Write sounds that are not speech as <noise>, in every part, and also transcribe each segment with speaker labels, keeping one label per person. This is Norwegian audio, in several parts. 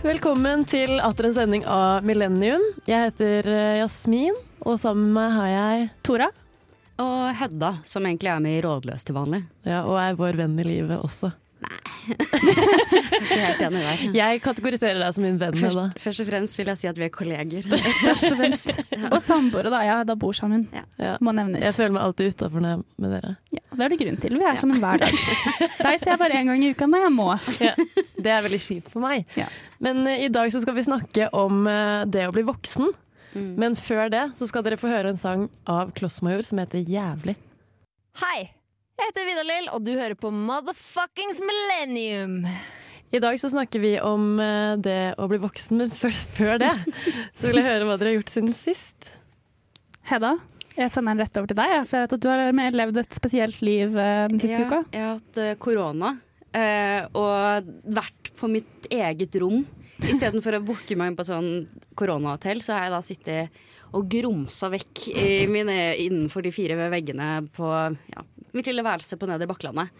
Speaker 1: Velkommen til atter en sending av Millennium. Jeg heter eh, Jasmin, og sammen med meg har jeg Tora.
Speaker 2: Og Hedda, som egentlig er med i Rådløs til vanlig.
Speaker 1: Ja, og er vår venn i livet også.
Speaker 2: Ikke helt enig der. <laughs>
Speaker 1: Jeg kategoriserer deg som min venn, Hedda.
Speaker 2: Først, først og fremst vil jeg si at vi er kolleger. <laughs>
Speaker 3: Først og fremst. <laughs> Og samboere, da. Ja, da bor sammen.
Speaker 2: Ja.
Speaker 1: Ja.
Speaker 3: Må nevnes.
Speaker 1: Jeg føler meg alltid utafor når jeg er med dere.
Speaker 3: Ja, det er det grunn til. Vi er sammen hver
Speaker 2: <laughs>
Speaker 3: dag. Deg ser jeg bare én gang i uka når jeg må.
Speaker 1: <laughs> Det er veldig kjipt for meg.
Speaker 3: Ja.
Speaker 1: Men eh, i dag så skal vi snakke om eh, det å bli voksen. Men før det så skal dere få høre en sang av Klossmajor som heter 'Jævlig'.
Speaker 4: Hei! Jeg heter Vidar-Lill, og du hører på Motherfuckings Millennium.
Speaker 1: I dag så snakker vi om eh, det å bli voksen, men før, før det så vil jeg høre hva dere har gjort siden sist.
Speaker 3: Hedda, jeg sender den rett over til deg, ja, for jeg vet at du har mer levd et spesielt liv eh, den siste
Speaker 2: Ja,
Speaker 3: uka.
Speaker 2: Jeg har hatt eh, korona eh, og vært på mitt eget rom. Istedenfor å booke meg inn på sånn koronahotell, så har jeg da sittet og grumsa vekk i mine, innenfor de fire veggene på ja, mitt lille værelse på Nedre Bakklandet.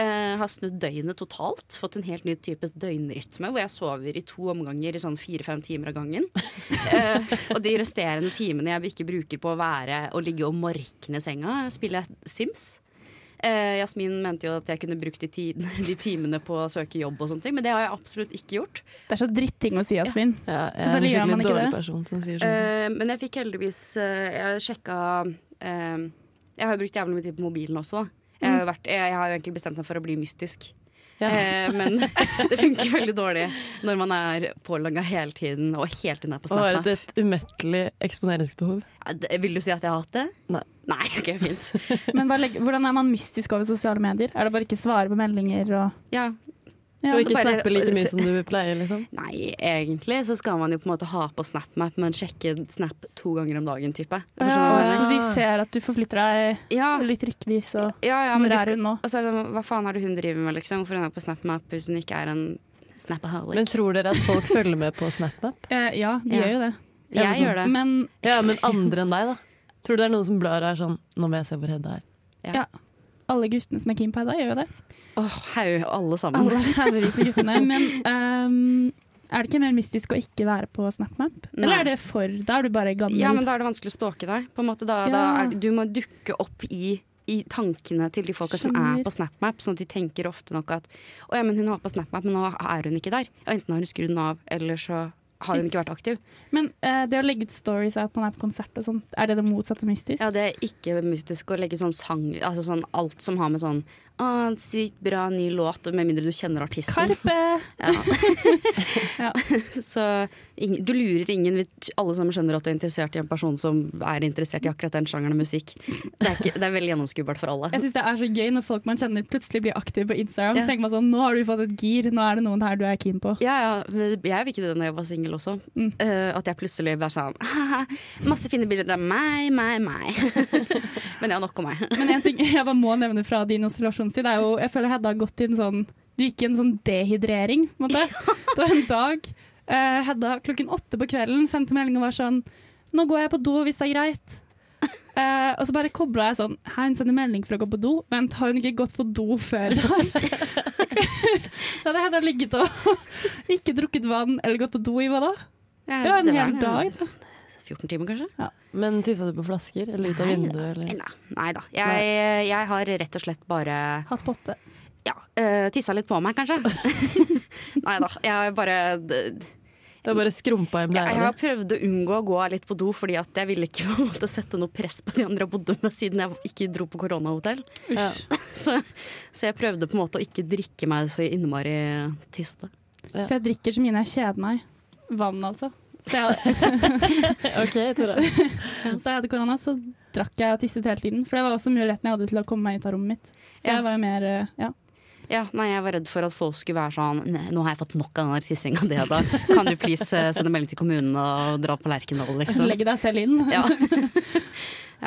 Speaker 2: Eh, har snudd døgnet totalt. Fått en helt ny type døgnrytme hvor jeg sover i to omganger i sånn fire-fem timer av gangen. Eh, og de resterende timene jeg ikke bruker på å være og ligge og morkne i senga, spiller jeg Sims. Eh, Jasmin mente jo at jeg kunne brukt de, tiden, <laughs> de timene på å søke jobb, og sånne ting, men det har jeg absolutt ikke gjort.
Speaker 3: Det er så dritting å si, Jasmin.
Speaker 1: Ja, jeg
Speaker 3: Selvfølgelig
Speaker 1: er
Speaker 3: gjør
Speaker 1: en
Speaker 3: man
Speaker 1: skikkelig
Speaker 3: ikke
Speaker 1: dårlig
Speaker 3: det.
Speaker 1: person som sier sånn.
Speaker 2: Eh, men jeg fikk heldigvis eh, Jeg sjekka eh, Jeg har jo brukt jævlig mye tid på mobilen også. da. Jeg har, jo vært, jeg, jeg har jo egentlig bestemt meg for å bli mystisk.
Speaker 1: Ja.
Speaker 2: Eh, men <laughs> det funker veldig dårlig når man er pålogga hele tiden og hele tiden er på
Speaker 1: og har
Speaker 2: Snap.
Speaker 1: et, et umettelig eksponeringsbehov.
Speaker 2: Ja, det- Vil du si at jeg har hatt det?
Speaker 1: Nei.
Speaker 2: Nei, <laughs> ok, fint.
Speaker 3: Men hva legger, hvordan er man mystisk over sosiale medier? Er det bare ikke svare på meldinger og
Speaker 2: Ja,
Speaker 3: ja.
Speaker 1: og ikke
Speaker 2: bare-
Speaker 1: snappe like mye som du pleier, liksom.
Speaker 2: Nei, egentlig så skal man jo på en måte ha på SnapMap, men sjekke Snap to ganger om dagen, type. Altså,
Speaker 3: ja,
Speaker 2: skjønner du hva jeg
Speaker 3: Ah, Så de ser at du forflytter deg
Speaker 2: mener? ja,
Speaker 3: litt rykkevis og
Speaker 2: ja, ja, men
Speaker 3: Hvor
Speaker 2: de
Speaker 3: er
Speaker 2: skal-
Speaker 3: hun nå?
Speaker 2: Og så er det sånn, hva faen er det hun driver med, liksom? Hvorfor hun er på SnapMap hvis hun ikke er en snapaholic?
Speaker 1: Men tror dere at folk følger med på SnapMap?
Speaker 3: Ja, de
Speaker 2: Eh, Ja.
Speaker 3: gjør jo det.
Speaker 2: jeg
Speaker 1: men sånn-
Speaker 2: gjør det.
Speaker 3: Men
Speaker 1: <laughs> Ja, men andre enn deg, da. Tror du det er noen som blar og er sånn 'nå må jeg se hvor Hedda er'?
Speaker 3: alle guttene som er keen på Hedda, gjør jo det.
Speaker 2: Åh, haug, alle sammen.
Speaker 3: Alle
Speaker 2: <laughs>
Speaker 3: haugevis med guttene. Men ehm, er det ikke mer mystisk å ikke være på SnapMap?
Speaker 2: Nei.
Speaker 3: Eller er det for Da er du bare gammel.
Speaker 2: Ja, men da er det vanskelig å stalke deg. På en måte da,
Speaker 3: Ja.
Speaker 2: da er, det- du må dukke opp i i tankene til de folka som er
Speaker 3: Skjønner.
Speaker 2: på SnapMap. Sånn at de tenker ofte nok at Å ja, men hun var på SnapMap, men nå er hun ikke der. Og enten har hun skrudd den av, eller så har hun
Speaker 3: Shit.
Speaker 2: ikke vært aktiv.
Speaker 3: Men eh, det å legge ut stories er at man er på konsert og sånn, er det det motsatte mystisk?
Speaker 2: Ja, det er ikke mystisk å legge sånn sang Altså sånn alt som har med sånn Å, en sykt bra ny låt, med mindre du kjenner artisten.
Speaker 3: Karpe!
Speaker 2: Så ingen, du lurer ingen. hvis Alle sammen skjønner at du er interessert i en person som er interessert i akkurat den sjangeren av musikk. Det er, ikke, det er veldig gjennomskuebart for alle.
Speaker 3: Jeg syns det er så gøy når folk man kjenner plutselig blir aktive på Instagram.
Speaker 2: Ja.
Speaker 3: Så tenker man sånn, nå har du fått et gir, nå er det noen her du er keen på.
Speaker 2: Ja, ja, men jeg fikk det da jeg var singel også.
Speaker 3: Mm.
Speaker 2: Eh, at jeg plutselig var sånn «Haha, Masse fine bilder av meg, meg, <laughs> meg. Men ja, nok om meg.
Speaker 3: Men en ting jeg bare må nevne fra din observasjonstid, er jo Jeg føler Hedda har gått i en sånn Du gikk i en sånn dehydrering, på
Speaker 2: <laughs>
Speaker 3: en måte. Det var en dag eh, Hedda klokken åtte på kvelden sendte melding og var sånn Nå går jeg på do, hvis det er greit. Eh, og så bare kobla jeg sånn Hæ, hun sender melding for å gå på do? Vent, har hun ikke gått på do
Speaker 2: <laughs>
Speaker 3: før i dag? <laughs> da hadde Hedda ligget og <laughs> ikke drukket vann eller gått på do i hva da? Ja, en
Speaker 2: det altså. var
Speaker 3: hel dag. da.
Speaker 2: 14 timer, kanskje?
Speaker 1: Men tissa du på flasker? Eller ut av
Speaker 2: Nei,
Speaker 1: vinduet? Eller?
Speaker 2: Nei, nei da. Jeg, jeg har rett og slett bare
Speaker 3: Hatt potte.
Speaker 2: ja, eh, tissa litt på meg, kanskje. <laughs> nei da. Jeg har bare d-
Speaker 1: Du har bare skrumpa i
Speaker 2: jeg, jeg
Speaker 1: bleia
Speaker 2: har
Speaker 1: di?
Speaker 2: prøvd å unngå å gå litt på do, fordi at jeg ville ikke <laughs> på en måte sette noe press på de andre jeg bodde med, siden jeg ikke dro på koronahotell.
Speaker 1: Ja.
Speaker 2: <laughs> Så, så jeg prøvde på en måte å ikke drikke meg så innmari tiste.
Speaker 3: For jeg drikker så mye når jeg kjeder meg. Vann, altså. Så jeg,
Speaker 1: <laughs> OK, Tora.
Speaker 3: Så jeg hadde korona, så drakk jeg og tisset hele tiden. For det var også muligheten jeg hadde til å komme meg ut av rommet mitt. Så
Speaker 2: Ja.
Speaker 3: jeg var jo mer eh, ja.
Speaker 2: Ja, nei, jeg var redd for at folk skulle være sånn «Nei, Nå har jeg fått nok av den der tissinga di, da. Kan du please eh, sende melding til kommunen og dra på Lerkendal, liksom?
Speaker 3: Legge deg selv inn. <laughs>
Speaker 2: Ja. ja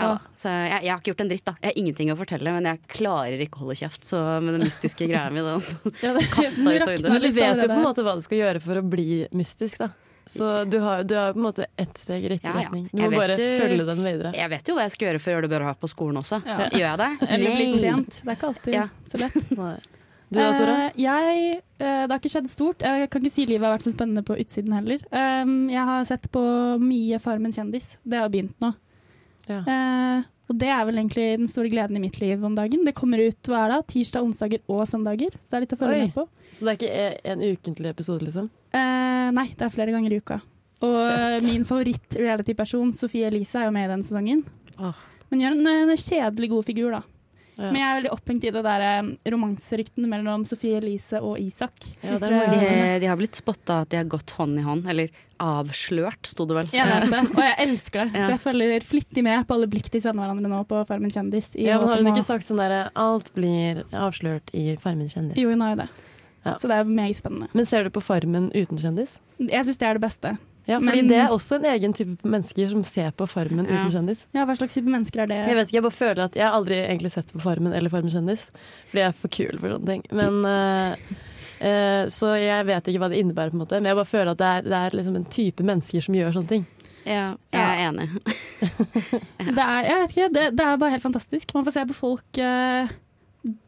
Speaker 2: da. Så jeg, jeg har ikke gjort en dritt, da. Jeg har ingenting å fortelle, men jeg klarer ikke å holde kjeft. Så med den mystiske greia mi, den Kastet
Speaker 3: Den
Speaker 2: ut av
Speaker 3: rakna
Speaker 2: vinduet.
Speaker 1: Men du
Speaker 3: litt
Speaker 1: vet jo på en
Speaker 3: allerede.
Speaker 1: måte hva du skal gjøre for å bli mystisk, da. Så du har du har på en måte ett steg i riktig
Speaker 2: Ja, ja.
Speaker 1: retning. Du
Speaker 2: Jeg
Speaker 1: må
Speaker 2: vet
Speaker 1: bare
Speaker 2: du-
Speaker 1: følge den videre.
Speaker 2: Jeg vet jo hva jeg skal gjøre for å gjøre det bra på skolen også.
Speaker 3: Ja.
Speaker 2: Gjør jeg det?
Speaker 3: <laughs> Eller bli
Speaker 2: Nei.
Speaker 3: trent. Det er ikke alltid
Speaker 2: Ja.
Speaker 3: så lett.
Speaker 1: Nei. <laughs> Du da, Tora?
Speaker 3: Eh, jeg, eh, det har ikke skjedd stort. Jeg kan ikke si livet har vært så spennende på utsiden heller. Um, jeg har sett på mye Farmen kjendis. Det har begynt nå.
Speaker 1: Ja.
Speaker 3: Eh, og det er vel egentlig den store gleden i mitt liv om dagen. Det kommer ut hva er det, tirsdag, onsdager og søndager, så det er litt å følge
Speaker 1: Oi.
Speaker 3: med på.
Speaker 1: Så det er ikke e- en ukentlig episode, liksom?
Speaker 3: Eh, nei, det er flere ganger i uka. Og eh,
Speaker 1: Fett.
Speaker 3: min favoritt-reality-person, Sofie Elise, er jo med i den sesongen.
Speaker 1: Åh.
Speaker 3: Men gjør en, en kjedelig god figur, da.
Speaker 1: Ja.
Speaker 3: Men jeg er veldig opphengt i det der eh, romanseryktene mellom Sofie Elise og Isak.
Speaker 1: Ja,
Speaker 3: Hvis
Speaker 1: det
Speaker 3: dere-
Speaker 1: må
Speaker 2: De, Eh, de har blitt spotta at de har gått hånd i hånd, eller avslørt, sto det vel.
Speaker 3: Jeg vet det, og jeg elsker det.
Speaker 2: Ja.
Speaker 3: Så jeg følger flittig med på alle blikk de sender hverandre nå på Farmen kjendis. i
Speaker 1: Ja, men
Speaker 3: håp
Speaker 1: har hun
Speaker 3: om å-
Speaker 1: ikke sagt sånn derre Alt blir avslørt i Farmen kjendis.
Speaker 3: Jo, hun har jo det.
Speaker 1: Ja.
Speaker 3: Så det er meget spennende.
Speaker 1: Men ser du på Farmen uten kjendis?
Speaker 3: Jeg syns det er det beste.
Speaker 1: Ja, fordi
Speaker 3: Men-
Speaker 1: det er også en egen type mennesker som ser på Farmen
Speaker 2: Ja.
Speaker 1: uten kjendis.
Speaker 3: Ja, Hva slags type mennesker er
Speaker 1: Jeg
Speaker 3: dere?
Speaker 1: vet ikke, jeg bare føler at jeg har aldri egentlig sett på Farmen eller Farmen kjendis, fordi jeg er for kul for sånne ting. Men, eh, eh, så jeg vet ikke hva det innebærer, på en måte. men jeg bare føler at det er, det er liksom en type mennesker som gjør sånne ting.
Speaker 2: Ja, jeg er enig.
Speaker 3: Det er, jeg vet ikke, det, det er bare helt fantastisk. Man får se på folk eh,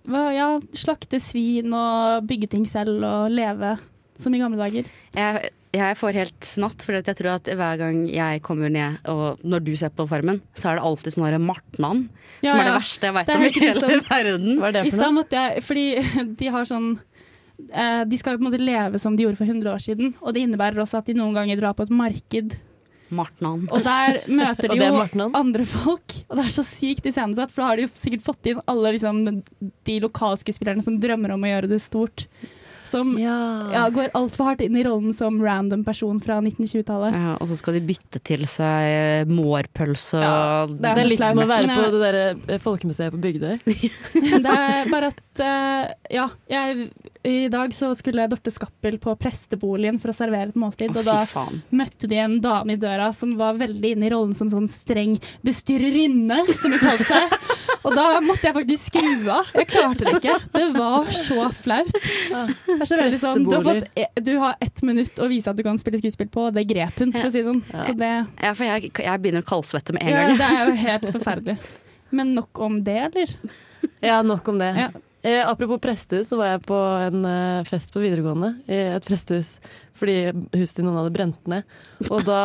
Speaker 3: hva- ja, slakte svin og bygge ting selv og leve som i gamle dager.
Speaker 2: Jeg, jeg får helt fnatt, for jeg tror at hver gang jeg kommer ned, og når du ser på Farmen, så er det alltid sånn derre Martnan
Speaker 3: Ja,
Speaker 2: som er det
Speaker 3: ja.
Speaker 2: verste jeg veit
Speaker 3: Det er
Speaker 2: om i
Speaker 3: helt
Speaker 2: hele
Speaker 3: grusomt.
Speaker 2: verden.
Speaker 1: Hva er det
Speaker 3: I
Speaker 1: for noe?
Speaker 3: stad måtte jeg Fordi <laughs> de har sånn eh, De skal jo på en måte leve som de gjorde for 100 år siden. Og det innebærer også at de noen ganger drar på et marked
Speaker 2: Martnan.
Speaker 3: Og der møter
Speaker 1: Og
Speaker 3: de
Speaker 1: det er
Speaker 3: jo
Speaker 1: Martnan.
Speaker 3: andre folk, og det er så sykt iscenesatt, for da har de jo sikkert fått inn alle liksom, de lokalskuespillerne som drømmer om å gjøre det stort. Som ja. går altfor hardt inn i rollen som random person fra 1920-tallet.
Speaker 2: Ja, og så skal de bytte til seg eh, mårpølse
Speaker 3: Ja,
Speaker 2: og
Speaker 1: Det er litt som å være
Speaker 3: Men
Speaker 1: på
Speaker 3: jeg-
Speaker 1: det der eh, folkemuseet på
Speaker 3: <laughs>
Speaker 1: Bygdøy.
Speaker 3: <laughs> Det er bare at eh, Ja, jeg, i dag så skulle Dorte Skappel på presteboligen for å servere et måltid,
Speaker 2: Å,
Speaker 3: og da
Speaker 2: fy faen.
Speaker 3: møtte de en dame i døra som var veldig inne i rollen som sånn streng bestyrerinne, som hun kalte seg.
Speaker 2: <laughs>
Speaker 3: Og da måtte jeg faktisk skru av. Jeg klarte det ikke. Det var så flaut. Det er så veldig sånn, du, har fått, du har ett minutt å vise at du kan spille skuespill på, og det grep hun, for å si det sånn. Så det,
Speaker 2: Ja, for jeg, jeg begynner å kaldsvette med en
Speaker 3: ja,
Speaker 2: gang.
Speaker 3: det er jo helt forferdelig. Men nok om det, eller?
Speaker 1: Ja, nok om det.
Speaker 3: Ja.
Speaker 1: Eh, apropos prestehus, så var jeg på en eh, fest på videregående i et prestehus fordi huset til noen hadde brent ned. Og da,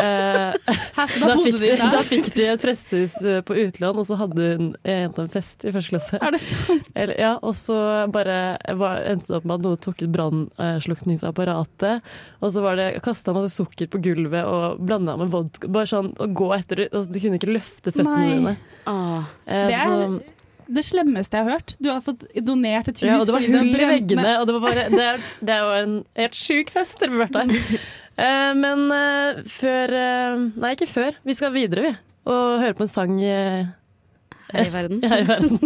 Speaker 1: eh,
Speaker 3: Hæ, så
Speaker 1: da,
Speaker 3: da
Speaker 1: fikk
Speaker 3: bodde
Speaker 1: de,
Speaker 3: de
Speaker 1: da
Speaker 3: der?
Speaker 1: fikk de et prestehus eh, på utlån, og så hadde hun eh, jenta en fest i første klasse.
Speaker 3: Er det sant?
Speaker 1: Eller, ja, og så bare var, endte det opp med at noen tok ut brannslukningsapparatet. Og så var det kasta masse sukker på gulvet og blanda med vodka. Bare sånn å gå etter det. altså, Du kunne ikke løfte føttene
Speaker 3: Nei.
Speaker 1: dine.
Speaker 2: Åh.
Speaker 1: Eh,
Speaker 3: Det er
Speaker 1: så-
Speaker 3: Det slemmeste jeg har hørt. Du har fått donert et hus.
Speaker 1: Ja, og det var
Speaker 3: fordi
Speaker 1: hull i
Speaker 3: brente ned.
Speaker 1: veggene, og det var bare Det er, det er jo en helt sjuk fest dere burde vært der. Eh, men eh, før eh, Nei, ikke før. Vi skal videre, vi. Og høre på en sang eh,
Speaker 2: Hei, verden.
Speaker 1: her i verden.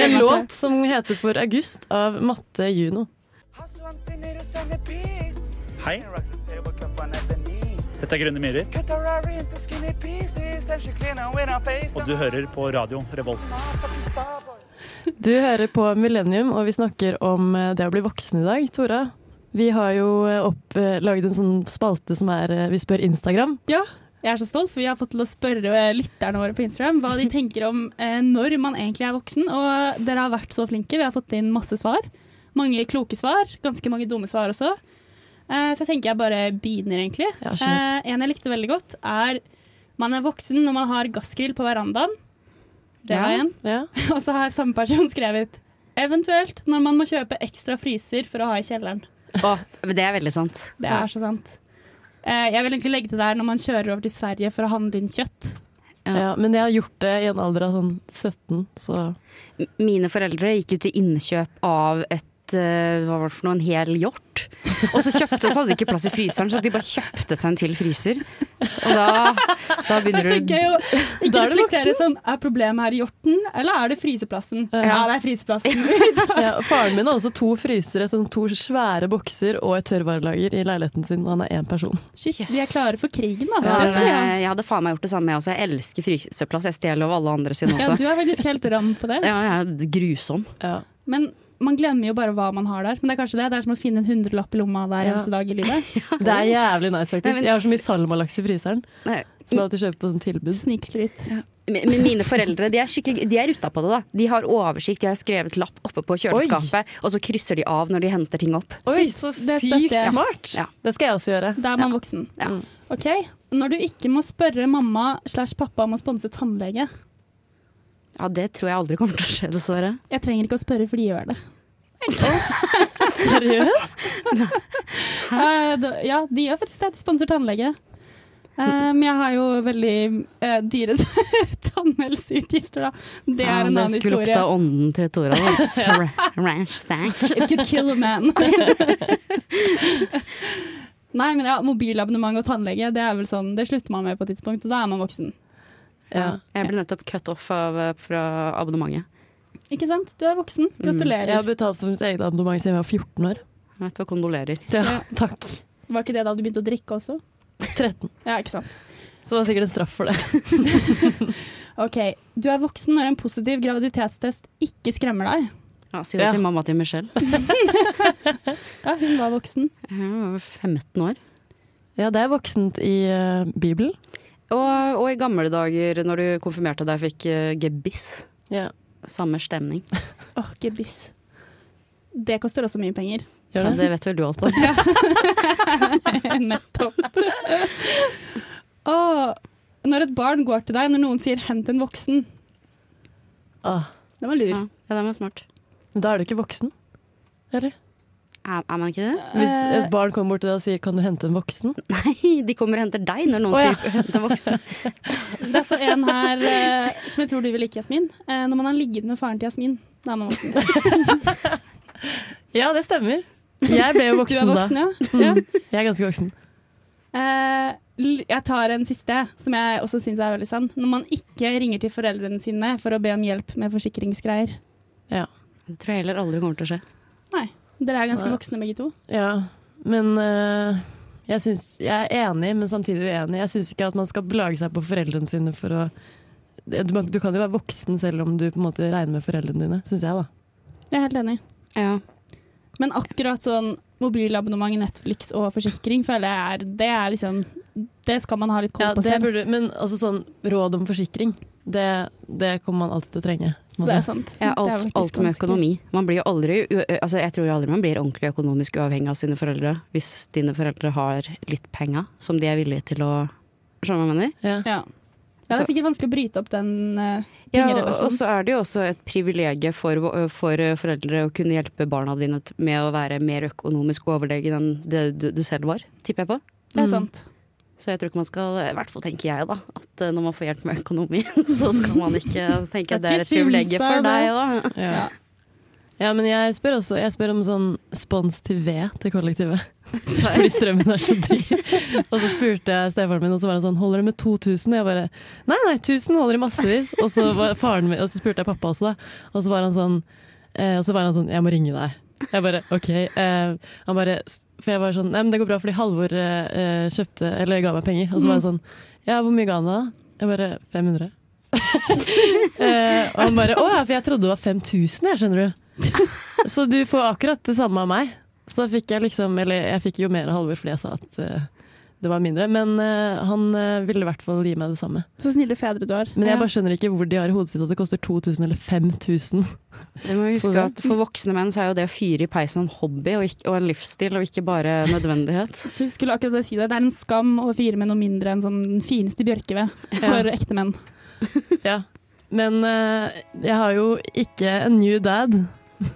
Speaker 1: En låt som heter For august av Matte Juno.
Speaker 5: Hei, dette er Grønne Myhrer, og du hører på radio Revolt.
Speaker 1: Du hører på Millennium, og vi snakker om eh, det å bli voksen i dag. Tora, vi har jo eh, opp, eh, laget en sånn spalte som er eh, Vi spør Instagram.
Speaker 3: Ja, jeg er så stolt, for vi har fått til å spørre eh, lytterne våre på Instagram hva de tenker om eh, når man egentlig er voksen. Og dere har vært så flinke. Vi har fått inn masse svar. Mange kloke svar. Ganske mange dumme svar også. Eh, så jeg tenker jeg bare begynner, egentlig.
Speaker 1: Ja, skjønner.
Speaker 3: Eh, en jeg likte veldig godt, er man er voksen når man har gassgrill på verandaen. Det var
Speaker 2: Ja.
Speaker 3: en.
Speaker 1: Ja.
Speaker 3: <laughs> Og så har samme person skrevet eventuelt når man må kjøpe ekstra fryser for å ha i kjelleren.
Speaker 2: Åh, men det er veldig sant.
Speaker 3: Det er så sant. Eh, jeg vil egentlig legge til der når man kjører over til Sverige for å handle inn kjøtt.
Speaker 1: Ja, men jeg har gjort det i en alder av sånn 17, så
Speaker 2: M- Mine foreldre gikk ut til innkjøp av et eh, hva var det for noe, en hel hjort. Og så kjøpte, så hadde de ikke plass i fryseren, så de bare kjøpte seg en til fryser. Og da, da
Speaker 3: Det er
Speaker 2: begynner
Speaker 3: så
Speaker 2: du
Speaker 3: gøy å ikke
Speaker 1: Da er du
Speaker 3: reflektere sånn Er problemet her i hjorten, eller er det fryseplassen? Ja, det er fryseplassen.
Speaker 1: Ja, og faren min har også to frysere, sånn to svære bokser og et tørrvarelager i leiligheten sin, og han er én person.
Speaker 3: <laughs> Shit, vi er klare for krigen, da.
Speaker 2: Ja, eh,
Speaker 3: det skal vi ha.
Speaker 2: jeg hadde faen meg gjort det samme, jeg også. Jeg elsker fryseplass. Jeg stjeler over alle andre sine
Speaker 3: Ja,
Speaker 2: også.
Speaker 3: du er faktisk helt ram på det.
Speaker 2: altså. Ja, jeg er grusom.
Speaker 1: Ja.
Speaker 3: Men man glemmer jo bare hva man har der. Men det er kanskje det. Det er som å finne en hundrelapp i lomma hver
Speaker 1: Ja.
Speaker 3: eneste dag i livet.
Speaker 1: Det er jævlig nice, faktisk.
Speaker 2: Nei, men-
Speaker 1: Jeg har så mye salmalaks i fryseren,
Speaker 2: Nei,
Speaker 1: som jeg alltid kjøper på sånn tilbud.
Speaker 3: Snikskryt.
Speaker 2: Men men mine foreldre de er, skikkelig- de er rutta på det. da De har oversikt, de har skrevet lapp oppe på kjøleskapet, og så krysser de av når de henter ting opp.
Speaker 1: Oi, så
Speaker 3: det støtter
Speaker 1: sykt
Speaker 3: jeg.
Speaker 1: smart!
Speaker 2: Ja.
Speaker 1: Det skal jeg også gjøre.
Speaker 3: Da er man voksen.
Speaker 2: Ja.
Speaker 3: Ok, Når du ikke må spørre mamma slash pappa om å sponse tannlege
Speaker 2: Ja, Det tror jeg aldri kommer til å skje, dessverre.
Speaker 3: Jeg trenger ikke å spørre, for de gjør det.
Speaker 1: Seriøst?
Speaker 3: Eh, da- ja, de gjør faktisk det. De sponser tannlege. Eh, Men jeg har jo veldig eh, dyre <laughs> tannhelseutgifter, da. Det er en annen
Speaker 2: skulle opp
Speaker 3: historie.
Speaker 2: ta ånden til Tora. da. Ranch stank.
Speaker 3: It could kill a man. Nei, men ja, mobilabonnement og tannlege, det er vel sånn, det slutter man med på et tidspunkt, og da er man voksen.
Speaker 1: Ja.
Speaker 2: Jeg ble nettopp cut off av, eh, fra abonnementet.
Speaker 3: Ikke sant? Du er voksen.
Speaker 1: Jeg har
Speaker 3: Gratulerer.
Speaker 1: betalt for mitt eget abonnement siden jeg var 14 år.
Speaker 2: Jeg vet hva kondolerer.
Speaker 1: Ja,
Speaker 3: Ja.
Speaker 1: takk.
Speaker 3: Var ikke det da du begynte å drikke også?
Speaker 1: 13.
Speaker 3: Ja, ikke sant.
Speaker 1: Så var det sikkert en straff for det.
Speaker 3: Ok, du er voksen når en positiv graviditetstest ikke skremmer deg.
Speaker 2: Ja, si det
Speaker 1: Ja.
Speaker 2: til mamma til Michelle.
Speaker 3: Ja, hun var voksen.
Speaker 2: Hun var 15 år.
Speaker 1: Ja, det er voksent i eh, Bibelen.
Speaker 2: Og, og i gamle dager, når du konfirmerte deg, fikk eh, gebiss.
Speaker 1: Ja.
Speaker 2: Samme stemning.
Speaker 3: Åh, gebiss. Det koster også mye penger. <laughs>
Speaker 1: Gjør
Speaker 2: Ja,
Speaker 1: det?
Speaker 2: det vet vel du alt om.
Speaker 3: Nettopp. Åh, når et barn går til deg, når noen sier 'hent en voksen',
Speaker 1: Ah,
Speaker 3: det var lur.
Speaker 2: Ja, ja den var smart.
Speaker 1: men da er du ikke voksen. Eller?
Speaker 2: Er, er man ikke det? <laughs>
Speaker 1: Hvis
Speaker 3: Eh,
Speaker 1: et barn kommer bort til deg og sier 'kan du hente en voksen'?
Speaker 2: Nei, de kommer og henter deg når noen
Speaker 1: Å, ja.
Speaker 2: sier <laughs> 'hent en voksen'.
Speaker 3: Det er så en her eh, som jeg tror du vil like, Jasmin. Eh, når man har ligget med faren til Jasmin, da er man voksen.
Speaker 1: Ja, det stemmer. Jeg <laughs> ble jo
Speaker 3: Du er
Speaker 1: voksen,
Speaker 3: voksen, ja?
Speaker 1: da. Mm. Jeg er ganske voksen.
Speaker 3: Eh, l- jeg tar en siste, som jeg også syns er veldig sann. Når man ikke ringer til foreldrene sine for å be om hjelp med forsikringsgreier.
Speaker 2: Det tror jeg heller aldri kommer til å skje.
Speaker 3: Dere er ganske
Speaker 1: Nei.
Speaker 3: voksne begge to.
Speaker 1: Ja, men eh, jeg, synes, jeg er enig, men samtidig uenig. Jeg syns ikke at man skal belage seg på foreldrene sine for å du, du kan jo være voksen selv om du på en måte regner med foreldrene dine, syns jeg, da.
Speaker 3: Jeg er helt enig.
Speaker 2: Ja.
Speaker 3: Men akkurat sånn mobilabonnement, Netflix og forsikring føler jeg er Det er liksom Det skal man ha litt koll
Speaker 1: Ja,
Speaker 3: på
Speaker 1: det
Speaker 3: selv.
Speaker 1: burde, men altså sånn råd om forsikring, det, det kommer man alltid til å trenge. på en måte.
Speaker 3: Det er sant.
Speaker 2: Ja,
Speaker 3: Det er
Speaker 2: alt,
Speaker 3: faktisk
Speaker 2: alt med
Speaker 3: ganske-
Speaker 2: økonomi. Man blir jo aldri, u- altså jeg tror jo aldri man blir ordentlig økonomisk uavhengig av sine foreldre hvis dine foreldre har litt penger som de er villige til å Skjønner du hva jeg mener?
Speaker 1: Ja.
Speaker 3: Ja. ja, det er sikkert vanskelig å bryte opp den eh,
Speaker 2: Ja,
Speaker 3: pengerelasjonen.
Speaker 2: og så er det jo også et privilegium for, for foreldre å kunne hjelpe barna dine t- med å være mer økonomisk overlegen enn det du, du selv var, tipper jeg på.
Speaker 3: Det
Speaker 1: Mm.
Speaker 3: er sant.
Speaker 2: Så jeg tror ikke man skal, i hvert fall tenker jeg da, at eh, når man får hjelp med økonomien, <laughs> så skal man ikke tenke at det er et
Speaker 3: Skal ikke kimse
Speaker 2: privilegium
Speaker 3: av
Speaker 2: for deg òg.
Speaker 1: Ja. ja, men jeg spør også jeg spør om sånn spons til ved til kollektivet. <laughs> Fordi strømmen er så dyr. Og så spurte jeg stefaren min, og så var han sånn Holder det med 2000? Og jeg bare Nei, nei, 1000 holder i massevis. Og så, var faren min, og så spurte jeg pappa også, da. Og så var han sånn eh, Og så var han sånn Jeg må ringe deg. Jeg bare OK. Eh, han bare For jeg var sånn Nei, men det går bra, fordi Halvor eh, eh, kjøpte Eller ga meg penger. Og så var han sånn Ja, hvor mye ga han da? Jeg bare 500. eh, og han bare Å ja, for jeg trodde det var 5000, jeg, skjønner du.
Speaker 3: <laughs>
Speaker 1: Så du får akkurat det samme av meg. Så da fikk jeg liksom Eller jeg fikk jo mer av Halvor fordi jeg sa at eh, det var mindre. Men eh, han eh, ville i hvert fall gi meg det samme.
Speaker 3: Så snille fedre du har.
Speaker 1: Men jeg
Speaker 3: Ja.
Speaker 1: bare skjønner ikke hvor de har i hodet sitt at det koster 2000 eller
Speaker 3: <laughs>
Speaker 1: 5000.
Speaker 2: Du må huske
Speaker 1: For-
Speaker 2: at for voksne menn så er jo det å fyre i peisen en hobby og, ikk- og en livsstil, og ikke bare <laughs> nødvendighet.
Speaker 3: Så jeg skulle akkurat si Det Det er en skam å fyre med noe mindre enn sånn den fineste bjørkeved for ekte menn.
Speaker 1: Ja. Men eh, jeg har jo ikke en new dad.
Speaker 3: <laughs>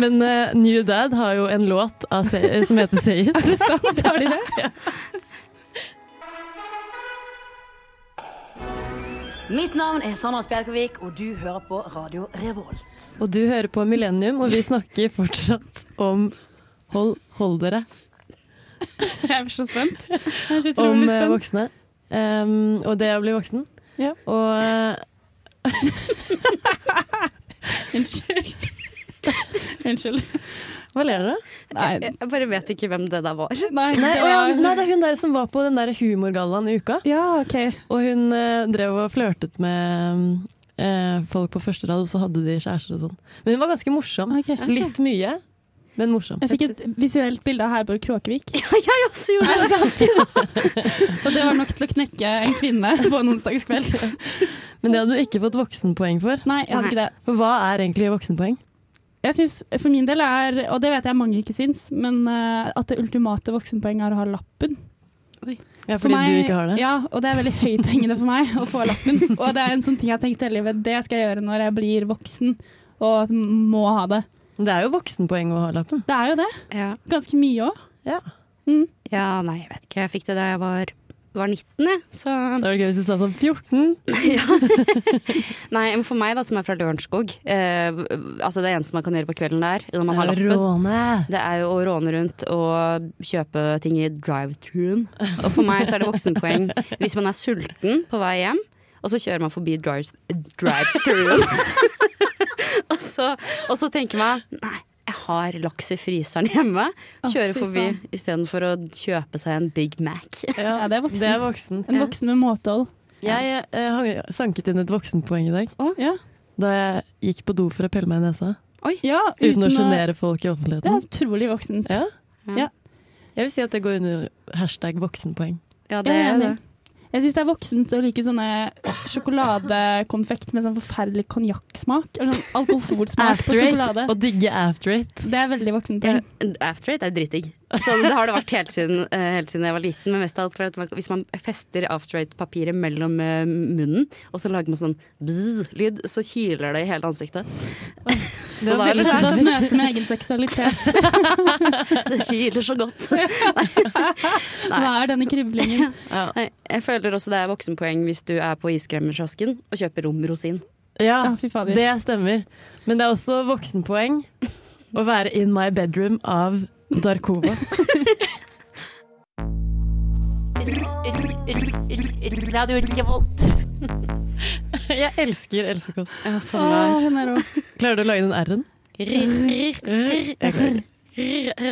Speaker 1: Men eh, New Dad har jo en låt av Se som
Speaker 3: <laughs>
Speaker 1: heter Say It.
Speaker 3: Er det sant? Har de det?
Speaker 1: <laughs>
Speaker 6: Mitt navn er Sandra Spjelkavik, og du hører på Radio Revolt.
Speaker 1: Og du hører på Millennium, og vi snakker fortsatt om Hold, hold dere.
Speaker 3: Jeg er så spent. Jeg er så
Speaker 1: om
Speaker 3: utrolig
Speaker 1: eh,
Speaker 3: spent.
Speaker 1: voksne. Em, og det å bli voksen.
Speaker 3: Ja.
Speaker 1: Og eh,
Speaker 3: Unnskyld. Unnskyld.
Speaker 1: hva ler dere av?
Speaker 3: Nei, nei,
Speaker 2: Jeg bare vet ikke hvem det der var.
Speaker 1: Nei,
Speaker 3: det
Speaker 1: å ja,
Speaker 3: var-
Speaker 1: nei, det er hun der som var på den der humorgallaen i uka.
Speaker 3: Ja, OK.
Speaker 1: Og hun eh, drev og flørtet med eh, folk på første rad, og så hadde de kjærester og sånn. Men hun var ganske morsom.
Speaker 3: Ok.
Speaker 1: Litt mye, men morsom.
Speaker 3: Jeg fikk et visuelt bilde av Herborg
Speaker 1: <laughs>
Speaker 3: Kråkevik,
Speaker 2: Jeg også gjorde det!
Speaker 3: <laughs> og det var nok til å knekke en kvinne på en onsdagskveld.
Speaker 1: Men det hadde du ikke fått voksenpoeng for.
Speaker 3: Nei, jeg hadde ikke det.
Speaker 1: For hva er egentlig voksenpoeng?
Speaker 3: Jeg synes, For min del er, og det vet jeg mange ikke syns, men eh, at det ultimate voksenpoenget er å ha lappen.
Speaker 1: Ja,
Speaker 3: For
Speaker 1: fordi
Speaker 3: meg-
Speaker 1: du ikke har det?
Speaker 3: Ja, og det er veldig høythengende for meg å få lappen. Og det er en sånn ting jeg har tenkt hele livet, det skal jeg gjøre når jeg blir voksen. Og at jeg må ha det.
Speaker 1: Det er jo voksenpoeng å ha lappen.
Speaker 3: Det er jo det.
Speaker 2: Ja.
Speaker 3: Ganske mye òg.
Speaker 1: Ja.
Speaker 2: Ja, nei, jeg vet ikke. Jeg fikk det da jeg var, var 19, jeg. Så
Speaker 1: Det var gøy hvis du sa sånn 14.
Speaker 2: Nei, men for meg, da, som er fra Lørenskog eh, Altså, det eneste man kan gjøre på kvelden der, når man har
Speaker 1: Det er jo
Speaker 2: lappen
Speaker 1: Råne!
Speaker 2: det er jo å råne rundt og kjøpe ting i drive-throughen. Og for meg så er det voksenpoeng hvis man er sulten på vei hjem, og så kjører man forbi drive- drive-throughen. <laughs> og, så, og så tenker man nei, jeg har laks i fryseren hjemme.
Speaker 3: Å,
Speaker 2: Kjører
Speaker 3: fy
Speaker 2: forbi
Speaker 3: faen.
Speaker 2: istedenfor å kjøpe seg en Big Mac.
Speaker 1: Ja,
Speaker 3: Ja, det er voksen.
Speaker 1: Det er voksen.
Speaker 3: En voksen med måtehold.
Speaker 1: Jeg eh, hang- sanket inn et voksenpoeng i dag
Speaker 3: Ja,
Speaker 1: da jeg gikk på do for å pelle meg i nesa.
Speaker 3: ja
Speaker 1: Uten å
Speaker 3: å-
Speaker 1: sjenere folk i
Speaker 3: Det er
Speaker 1: offentligheten.
Speaker 3: utrolig voksent.
Speaker 1: Ja.
Speaker 2: Ja.
Speaker 1: Jeg vil si at det går under hashtag voksenpoeng.
Speaker 2: Ja,
Speaker 3: Jeg er
Speaker 2: det,
Speaker 3: enig. Jeg syns det er voksent å like sånne sjokoladekonfekt med sånn forferdelig konjakksmak. Eller sånn alkoholsmak på
Speaker 1: After eight.
Speaker 3: sjokolade.
Speaker 1: Å digge after eight.
Speaker 3: Det er veldig voksent.
Speaker 2: Ja, After eight er dritdigg. Sånn, det har det vært helt siden, eh, helt siden jeg var liten. Men mest av alt for at man, hvis man fester after eight-papiret mellom eh, munnen, og så lager man sånn bzz-lyd, så kiler det i hele <laughs> ansiktet. Så da er
Speaker 3: Det
Speaker 2: det
Speaker 3: er et
Speaker 2: sånn,
Speaker 3: møte med egen seksualitet.
Speaker 2: <laughs> det kiler så godt. Nei.
Speaker 3: Hva er denne kriblingen?
Speaker 2: Nei, Jeg føler også det er voksenpoeng hvis du er på iskremmerkiosken og kjøper rom rosin.
Speaker 1: Ja,
Speaker 3: Ja, fy fader.
Speaker 1: det stemmer. Men det er også voksenpoeng å være in my bedroom av Darkova. Jeg elsker Else Kåss.
Speaker 3: Åh, hun er rå.
Speaker 1: Klarer du å lage den R-en?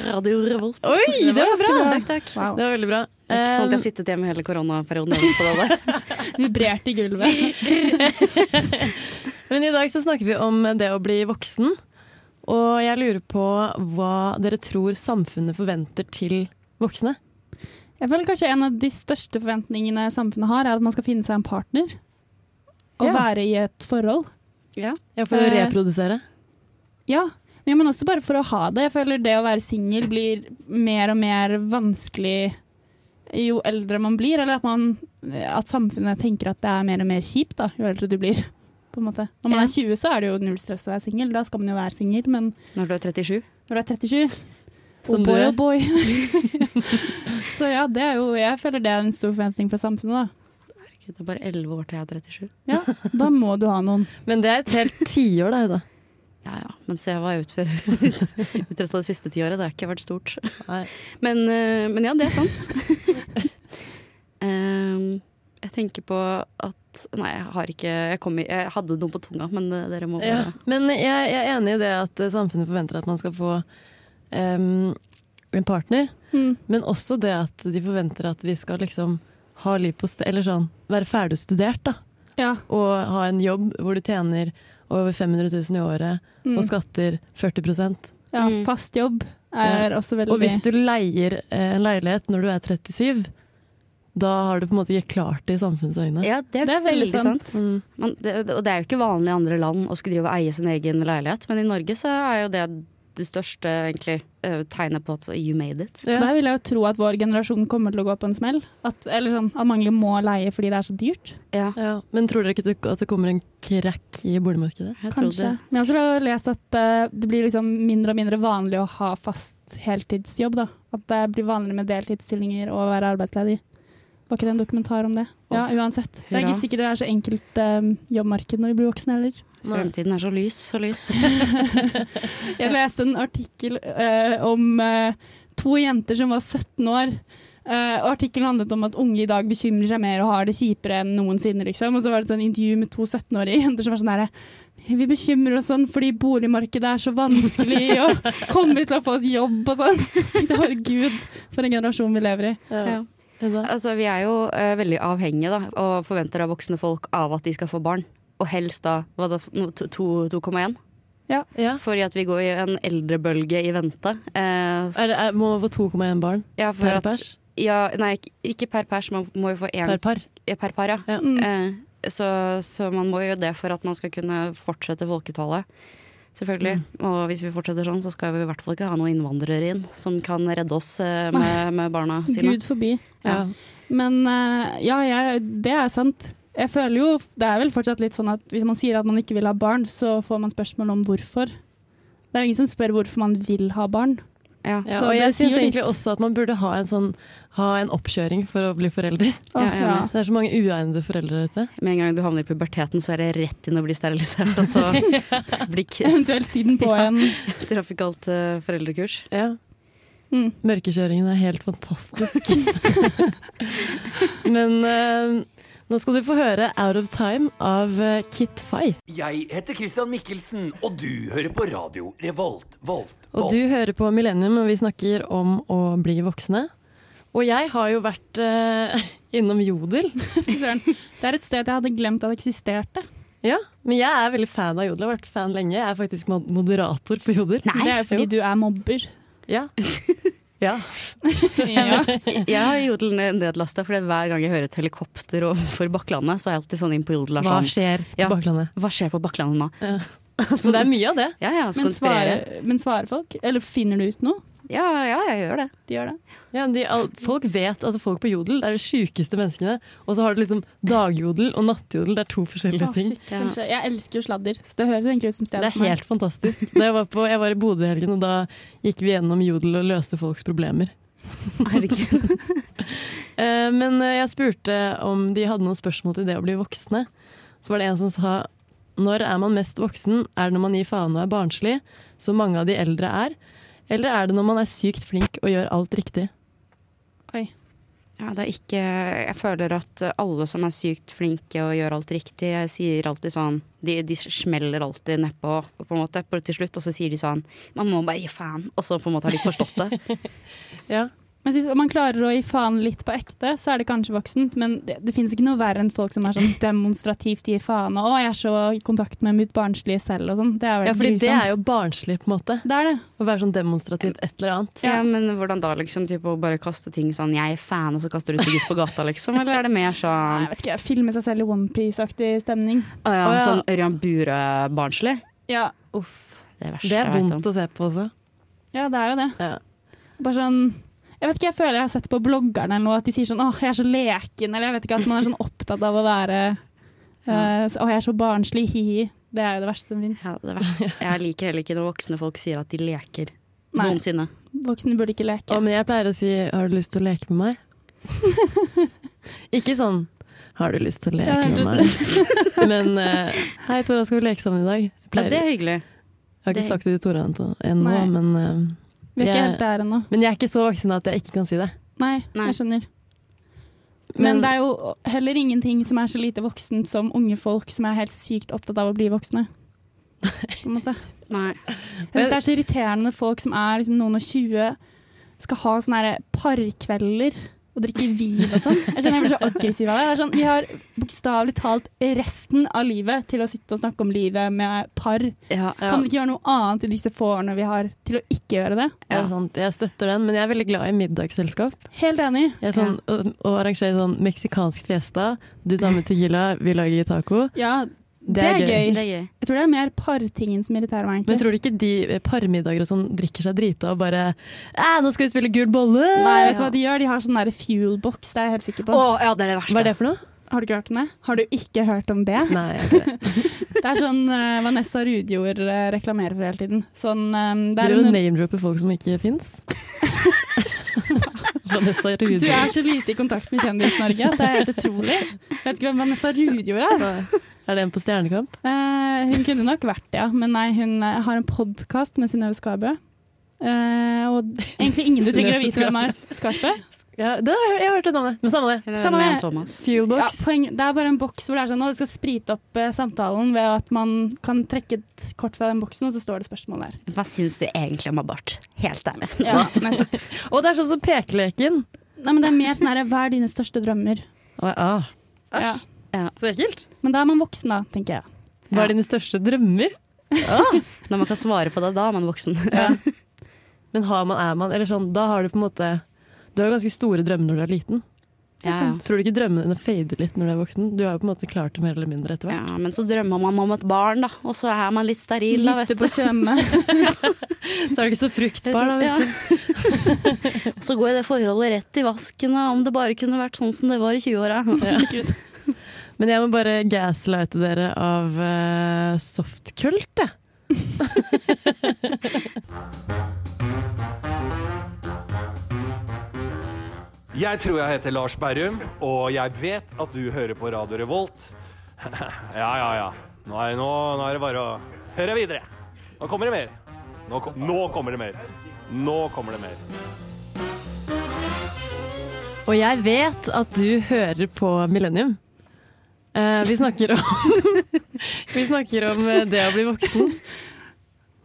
Speaker 2: Radio Revolt.
Speaker 1: Oi, det var bra!
Speaker 2: Takk, takk.
Speaker 3: Wow.
Speaker 1: Det var veldig bra.
Speaker 2: Det er ikke sant jeg har
Speaker 1: Um,
Speaker 2: sittet hjemme hele koronaperioden og øvd på det <laughs> der.
Speaker 3: Vibrert i gulvet.
Speaker 1: Men i dag så snakker vi om det å bli voksen. Og jeg lurer på hva dere tror samfunnet forventer til voksne.
Speaker 3: Jeg føler kanskje En av de største forventningene samfunnet har, er at man skal finne seg en partner. Og
Speaker 1: Ja.
Speaker 3: være i et forhold.
Speaker 1: Ja, For å
Speaker 3: Eh,
Speaker 1: reprodusere.
Speaker 3: Ja, men, men også bare for å ha det. Jeg føler det å være singel blir mer og mer vanskelig jo eldre man blir, eller at, man, at samfunnet tenker at det er mer og mer kjipt da, jo eldre du blir. På en måte. Når man
Speaker 2: Ja.
Speaker 3: er 20, så er det jo null stress å være singel. Da skal man jo være singel, men
Speaker 2: Når du er 37.
Speaker 3: når du er 37
Speaker 1: Som
Speaker 3: oh
Speaker 1: du
Speaker 3: boy,
Speaker 1: er.
Speaker 3: oh
Speaker 1: <laughs>
Speaker 3: boy. <laughs> så ja, det er jo, jeg føler det er en stor forventning fra samfunnet.
Speaker 2: Herregud, Det er bare 11 år til jeg er 37.
Speaker 3: Da, da må du ha noen.
Speaker 1: Men det er et
Speaker 3: <laughs>
Speaker 1: helt tiår, da, Ida.
Speaker 2: Ja, ja. Men se hva jeg utfører <laughs> utretta det siste tiåret. Det har ikke vært stort. Men, eh, men ja, det er sant. <laughs> Ehm, jeg tenker på at Nei, jeg har ikke Jeg, kom i, jeg hadde noe på tunga, men eh, dere må
Speaker 1: Ja.
Speaker 2: bare
Speaker 1: Men jeg, jeg er enig i det at eh, samfunnet forventer at man skal få em, en partner.
Speaker 3: Mm.
Speaker 1: Men også det at de forventer at vi skal liksom ha liv på sted, eller sånn, være ferdigstudert. da.
Speaker 3: Ja.
Speaker 1: Og ha en jobb hvor du tjener over 500 000 i året
Speaker 3: Mm.
Speaker 1: og skatter 40
Speaker 3: ja
Speaker 2: Mm.
Speaker 3: fast jobb er også veldig
Speaker 1: Og hvis du leier eh, en leilighet når du er 37, da har du på en måte ikke klart det i samfunnets øyne.
Speaker 2: Ja, det er,
Speaker 3: Det er veldig
Speaker 2: veldig sant.
Speaker 1: Mm.
Speaker 2: Man, det, og det er jo ikke vanlig i andre land å skulle drive og eie sin egen leilighet, men i Norge så er jo det det største egentlig eh, tegnet på at you made it.
Speaker 1: Ja.
Speaker 3: Der vil jeg jo tro at vår generasjon kommer til å gå på en smell. At, eller sånn, at mange må leie fordi det er så dyrt.
Speaker 2: Ja,
Speaker 1: Ja. Men tror dere ikke det- at det kommer en krakk i boligmarkedet?
Speaker 2: jeg tror
Speaker 3: Kanskje.
Speaker 2: det.
Speaker 3: Men jeg har også lest at eh, det blir liksom mindre og mindre vanlig å ha fast heltidsjobb. Da. At det blir vanligere med deltidsstillinger og å være arbeidsledig. Var ikke det en dokumentar om det? Ja, uansett. Det er
Speaker 2: Hurra.
Speaker 3: ikke sikkert det er så enkelt eh, jobbmarked når vi blir voksne heller.
Speaker 2: Fremtiden er så lys, så lys.
Speaker 3: Jeg leste en artikkel eh, om eh, to jenter som var 17 år. Eh, og Artikkelen handlet om at unge i dag bekymrer seg mer og har det kjipere enn noensinne. Liksom. Og så var det et sånn intervju med to 17-årige jenter som var sånn herre Vi bekymrer oss sånn fordi boligmarkedet er så vanskelig, og kommer vi til å få oss jobb og sånn? <laughs> Det var Gud for en generasjon vi lever i.
Speaker 1: Ja. Hedda?
Speaker 2: <laughs> Altså, vi er jo eh, veldig avhengige da, og forventer av voksne folk av at de skal få barn. Og helst da hva da, no, to- to- 2,1.
Speaker 1: Ja.
Speaker 2: Fordi at vi går i en eldrebølge i vente. Eh, s-
Speaker 1: Er, det- er, må man få 2,1 barn
Speaker 2: ja, for
Speaker 1: per
Speaker 2: at-
Speaker 1: pers?
Speaker 2: Ja, nei, ikke- ikke per pers, man må jo få én
Speaker 1: Per par.
Speaker 3: Mm.
Speaker 2: ja, per par. Ja.
Speaker 1: Ja.
Speaker 2: Eh, Så, så man må gjøre det for at man skal kunne fortsette folketallet. Selvfølgelig. Og hvis vi fortsetter sånn, så skal vi i hvert fall ikke ha noen innvandrere inn som kan redde oss eh, med, med barna sine.
Speaker 3: Gud forbi.
Speaker 2: Ja.
Speaker 3: Men eh, ja, jeg, det er sant. Jeg føler jo, Det er vel fortsatt litt sånn at hvis man sier at man ikke vil ha barn, så får man spørsmål om hvorfor. Det er jo ingen som spør hvorfor man vil ha barn.
Speaker 2: Ja.
Speaker 1: Ja,
Speaker 3: Så
Speaker 1: og jeg
Speaker 3: det sier
Speaker 1: syns
Speaker 3: jo litt.
Speaker 1: egentlig også at man burde ha en, sånn, ha en oppkjøring for å bli forelder.
Speaker 3: Åh,
Speaker 2: jeg er
Speaker 3: ja.
Speaker 1: Det er så mange uegnede foreldre der ute.
Speaker 2: Med en gang du havner i puberteten, så er det rett inn å bli sterilisert, og så blir kiss
Speaker 3: <laughs> Eventuelt siden på en
Speaker 2: trafikalt eh, foreldrekurs.
Speaker 3: mm.
Speaker 1: Mørkekjøringen er helt fantastisk. <laughs> Men eh, nå skal du få høre 'Out of Time' av eh, Kit Fay.
Speaker 7: Jeg heter Christian Mikkelsen, og du hører på radio Revolt. Volt,
Speaker 1: Og
Speaker 7: Volt.
Speaker 1: du hører på Millennium, og vi snakker om å bli voksne. Og jeg har jo vært eh, <laughs> innom Jodel.
Speaker 3: Fy søren. Det er et sted jeg hadde glemt at eksisterte.
Speaker 1: Ja, Men jeg er veldig fan av Jodel. Jeg har vært fan lenge. Jeg er faktisk mod- moderator på Jodel.
Speaker 3: Det er jo fordi du er mobber.
Speaker 1: Ja. ja.
Speaker 3: Ja.
Speaker 2: Jeg har jodelen nedlasta, for hver gang jeg hører et helikopter overfor Bakklandet, så er jeg alltid sånn inn på jodel.
Speaker 1: Hva
Speaker 2: Sånn,
Speaker 1: skjer på
Speaker 2: Ja.
Speaker 1: baklandet?
Speaker 2: Hva skjer på Bakklandet nå?
Speaker 1: Så det er mye av det.
Speaker 2: Ja ja, så
Speaker 3: Men,
Speaker 2: konspirere.
Speaker 3: svarer, men svarer folk? Eller finner du ut noe?
Speaker 2: Ja, ja, jeg gjør det.
Speaker 3: De gjør det.
Speaker 1: Ja, de, all, folk vet at folk på Jodel er de sjukeste menneskene. Og så har du liksom dagjodel og nattjodel. Det er to forskjellige
Speaker 3: Åh,
Speaker 1: ting.
Speaker 3: shit, kanskje. Jeg elsker jo sladder, så det høres jo egentlig ut som
Speaker 1: Det
Speaker 3: stedet
Speaker 1: er helt fantastisk. Da jeg var, på, jeg var i Bodø i helgen, og da gikk vi gjennom Jodel og løste folks problemer.
Speaker 2: <laughs> Herregud.
Speaker 1: Eh, men eh, jeg spurte om de hadde noen spørsmål til det å bli voksne. Så var det en som sa Når er man mest voksen? Er det når man gir faen og er barnslig, som mange av de eldre er? Eller er det når man er sykt flink og gjør alt riktig?
Speaker 2: Ja, det er ikke Jeg føler at alle som er sykt flinke og gjør alt riktig, jeg sier alltid sånn De, de smeller alltid nedpå, på en måte, på- til slutt, og så sier de sånn Man må bare gi faen. Og så på en måte har de forstått det.
Speaker 1: Ja.
Speaker 3: Men hvis man klarer å gi faen litt på ekte, så er det kanskje voksent, men det, det finnes ikke noe verre enn folk som
Speaker 1: <laughs>
Speaker 3: er sånn demonstrativt gir faen og 'å, jeg er så i kontakt med mitt barnslige selv' og sånn. Det er
Speaker 1: ja,
Speaker 3: veldig
Speaker 1: fordi
Speaker 3: grusomt.
Speaker 1: det er jo barnslig, på en måte.
Speaker 3: Det er det.
Speaker 1: Å være sånn demonstrativt et eller annet.
Speaker 2: <laughs> Ja, men hvordan da, liksom? Typ, å bare kaste ting sånn 'jeg er fan', og så kaster du tyggis på gata, liksom? Eller er det mer
Speaker 3: Nei,
Speaker 2: sånn,
Speaker 3: jeg vet ikke, filme seg selv i OnePiece-aktig stemning.
Speaker 2: Å ja,
Speaker 1: Å ja.
Speaker 2: sånn Ørjan Bure-barnslig?
Speaker 3: Ja.
Speaker 1: Uff.
Speaker 2: Det er verst
Speaker 1: Det er
Speaker 2: jeg vet om.
Speaker 1: vondt å se på også.
Speaker 3: ja, det er jo det.
Speaker 1: Ja.
Speaker 3: Bare sånn jeg vet ikke, jeg føler jeg har sett på bloggerne eller noe at de sier sånn 'Åh, jeg er så leken', eller jeg vet ikke, at man er sånn opptatt av å være eh, så, 'Åh, jeg er så barnslig', hi-hi. Det er jo det verste som fins.
Speaker 2: Ja, det
Speaker 1: <laughs>
Speaker 2: er verst. Jeg liker heller ikke når voksne folk sier at de leker.
Speaker 3: Nei.
Speaker 2: Noensinne.
Speaker 3: Voksne burde ikke
Speaker 1: Å,
Speaker 3: leke.
Speaker 1: men jeg pleier å si 'har du lyst til å leke med meg'? Ikke sånn 'har du lyst til å leke
Speaker 3: Ja,
Speaker 1: med
Speaker 3: du-
Speaker 1: meg'? Men eh, 'hei, Tora, skal vi leke sammen i dag'? Jeg,
Speaker 2: Ja,
Speaker 1: pleier,
Speaker 2: det er
Speaker 1: jeg
Speaker 2: hyggelig.
Speaker 1: har
Speaker 2: det
Speaker 1: ikke
Speaker 2: er-
Speaker 1: sagt det til Tora ennå, ennå,
Speaker 3: Nei.
Speaker 1: men, eh,
Speaker 3: Vi er ikke
Speaker 1: jeg-
Speaker 3: helt der ennå.
Speaker 1: men jeg er ikke så voksen at jeg ikke kan si det.
Speaker 3: Nei,
Speaker 2: Nei.
Speaker 3: jeg skjønner.
Speaker 1: Men-
Speaker 3: Men, det er jo heller ingenting som er så lite voksent som unge folk som er helt sykt opptatt av å bli voksne. På en måte.
Speaker 2: Nei.
Speaker 3: Jeg synes det er så irriterende når folk som er liksom noen og 20, skal ha sånne her parkvelder og drikke vin og sånn. Jeg skjønner jeg blir så aggressiv av det. det er sånn, vi har bokstavelig talt resten av livet til å sitte og snakke om livet med par.
Speaker 2: Ja,
Speaker 3: Kan vi ikke gjøre noe annet i disse få årene vi har til å ikke gjøre det?
Speaker 1: Det
Speaker 2: Ja.
Speaker 1: er sant, jeg støtter den, men jeg er veldig glad i middagsselskap.
Speaker 3: Helt enig.
Speaker 1: Jeg er sånn, å, å arrangere sånn meksikansk fiesta, du tar med tequila, vi lager taco.
Speaker 3: Ja, det,
Speaker 1: er
Speaker 3: er,
Speaker 1: gøy.
Speaker 3: gøy.
Speaker 2: det er gøy.
Speaker 3: Jeg tror det er mer partingen som irriterer meg.
Speaker 1: Men
Speaker 3: egentlig.
Speaker 1: tror du ikke de eh, parmiddager og sånn drikker seg drita og bare «Æ, 'Nå skal vi spille gul bolle!'
Speaker 3: Nei, vet du hva de gjør? De har sånn der fuelbox, det er jeg helt sikker på.
Speaker 2: Å, ja, det er det verste.
Speaker 1: Hva er det for noe?
Speaker 3: Har du ikke hørt om det? Har du ikke hørt om det?
Speaker 1: Nei, jeg har ikke <laughs> det.
Speaker 3: Det er sånn eh, Vanessa Rudjord eh, reklamerer for hele tiden. Sånn, eh, det er
Speaker 1: Driver du og
Speaker 3: en,
Speaker 1: name-dropper folk som ikke <laughs> Sånn, fins? Vanessa
Speaker 3: du
Speaker 1: Rudi.
Speaker 3: er så lite i kontakt med Kjendis-Norge at det er helt utrolig. Vet ikke hvem Vanessa Rudjord er.
Speaker 1: Er det en på Stjernekamp?
Speaker 3: Eh, hun kunne nok vært det, ja. Men nei, hun eh, har en podkast med Synnøve Skarbø. Eh, og egentlig ingen du trenger å vite hvem er. Skarsbø?
Speaker 1: Ja, det har jeg, jeg har hørt det navnet. Men samme det.
Speaker 2: Eller
Speaker 3: Samme
Speaker 2: med
Speaker 3: det.
Speaker 2: Thomas.
Speaker 3: Ja,
Speaker 1: Fuelbox.
Speaker 3: poeng, det er bare en boks hvor det er sånn, «Å, det skal sprite opp eh, samtalen ved at man kan trekke et kort fra den boksen, og så står det spørsmål der.
Speaker 2: Hva syns du egentlig om abort? Helt ærlig.
Speaker 3: Ja, nettopp.
Speaker 1: Og det er sånn som pekeleken.
Speaker 3: Nei, men det er mer sånn her, hva er dine største drømmer?
Speaker 1: Å, ah. Æsj.
Speaker 2: Ja.
Speaker 1: Så ekkelt.
Speaker 3: Men da er man voksen da, tenker jeg.
Speaker 1: Hva er dine største drømmer?
Speaker 2: <laughs> Når man kan svare på det, da er man voksen.
Speaker 1: <laughs> Men har man, er man Eller sånn, da har du på en måte Du har ganske store drømmer når du er liten.
Speaker 3: det
Speaker 2: <laughs>
Speaker 3: er
Speaker 2: Ja,
Speaker 3: sant.
Speaker 1: Tror du ikke drømmene dine fader litt når du er voksen? Du har jo på en måte klart det mer eller mindre etter hvert.
Speaker 2: Ja, men så drømmer man om et barn, da, og så er man litt steril, da, vet du.
Speaker 3: Lytte på <laughs> kjønnet.
Speaker 1: Så er du ikke så fruktbar, da.
Speaker 2: Ja. <laughs>
Speaker 1: Vet du.
Speaker 2: Så går det forholdet rett i vasken, da, om det bare kunne vært sånn som det var i 20-åra.
Speaker 1: Men jeg må bare gaslighte dere av uh, softkult, jeg.
Speaker 8: Jeg tror jeg heter Lars Berrum, og jeg vet at du hører på Radio Revolt. <laughs> ja, ja, ja. Nå er, nå, nå er det bare å høre videre. Nå kommer det mer. Nå, kom, nå kommer det mer. Nå kommer det mer.
Speaker 1: Og jeg vet at du hører på Millennium. Eh, vi snakker om <laughs> Vi snakker om eh, det å bli voksen.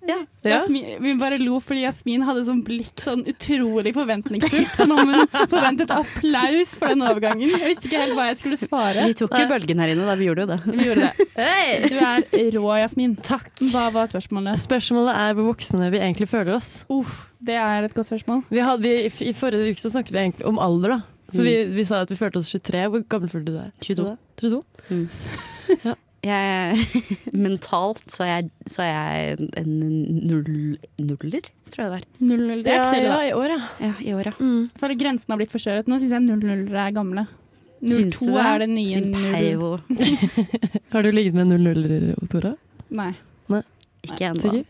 Speaker 1: Ja.
Speaker 3: Jasmin, vi bare lo fordi Jasmin hadde sånn blikk sånn utrolig forventningsfullt, som om hun forventet applaus for den overgangen. Jeg visste ikke helt hva jeg skulle svare.
Speaker 2: Vi tok jo bølgen her inne, da. Vi gjorde jo det.
Speaker 3: Vi gjorde det. Du er rå, Jasmin.
Speaker 1: Takk.
Speaker 3: Hva var spørsmålet?
Speaker 1: Spørsmålet er hvor voksne vi egentlig føler oss.
Speaker 3: Uff, det er et godt spørsmål.
Speaker 1: Vi hadde, vi, i f- I forrige uke så snakket vi egentlig om alder, da. Så vi, vi sa at vi følte oss 23. Hvor gammel følte du deg?
Speaker 2: 22.
Speaker 1: 22?
Speaker 2: Jeg, <laughs> mentalt så er jeg, så er jeg en null, nuller, tror jeg det er.
Speaker 3: Null-null. Det er
Speaker 1: Ja,
Speaker 3: ikke så ille,
Speaker 1: ja,
Speaker 3: da.
Speaker 1: i år, ja.
Speaker 2: Ja, I åra.
Speaker 3: Jeg føler grensen har blitt forskjøvet. Nå syns jeg null-nullere er gamle.
Speaker 2: Syns du
Speaker 3: 02
Speaker 2: det?
Speaker 3: er det nye
Speaker 2: Din
Speaker 3: null.
Speaker 2: pervo.
Speaker 1: Har du ligget med 00-er, Tora?
Speaker 3: Nei.
Speaker 2: Ikke ennå.
Speaker 1: Sikker?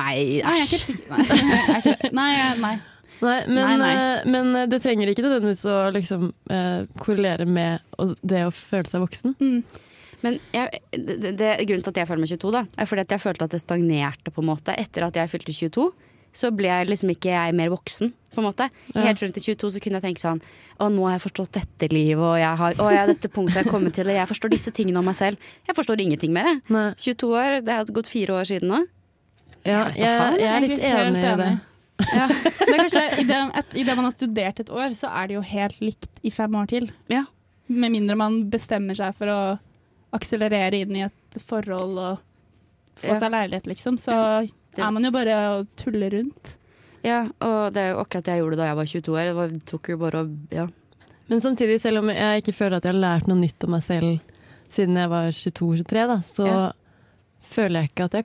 Speaker 2: Nei,
Speaker 3: Nei, jeg er
Speaker 2: æsj.
Speaker 3: ikke helt sikker. Nei, jeg er ikke det. nei, jeg- nei.
Speaker 1: Nei, men,
Speaker 3: Nei, nei.
Speaker 1: eh, men eh, det trenger ikke nødvendigvis å liksom, eh, korrelere med å- det å føle seg voksen.
Speaker 2: Men jeg, det, det, grunnen til at jeg føler meg 22, da, er fordi at jeg følte at det stagnerte på en måte. Etter at jeg fylte 22, så ble jeg liksom ikke jeg mer voksen, på en måte. Helt rundt i 22 så kunne jeg tenke sånn Å, nå har jeg forstått dette livet, og jeg har å, jeg, har dette punktet jeg har kommet til, og jeg forstår disse tingene om meg selv. Jeg forstår ingenting mer, jeg.
Speaker 1: Nei.
Speaker 2: 22 år, det har gått fire år siden nå.
Speaker 1: Ja,
Speaker 2: Jeg vet da
Speaker 1: jeg, jeg
Speaker 2: faen,
Speaker 3: jeg
Speaker 1: er
Speaker 3: er
Speaker 1: litt
Speaker 3: ikke helt
Speaker 1: enig i det.
Speaker 3: enig. Ja. Det er kanskje, i det, et, I det man har studert et år, så er det jo helt likt i fem år til.
Speaker 2: Ja.
Speaker 3: Med mindre man bestemmer seg for å akselerere inn i et forhold og få
Speaker 2: Ja.
Speaker 3: seg leilighet, liksom. Så er man jo bare å tulle rundt.
Speaker 2: Ja, og det er jo akkurat det jeg gjorde da jeg var 22 år. Det var, tok jo bare å Ja.
Speaker 1: Men samtidig, selv om jeg ikke føler at jeg har lært noe nytt om meg selv siden jeg var 22-23, da, så
Speaker 2: Ja.
Speaker 1: føler jeg ikke at jeg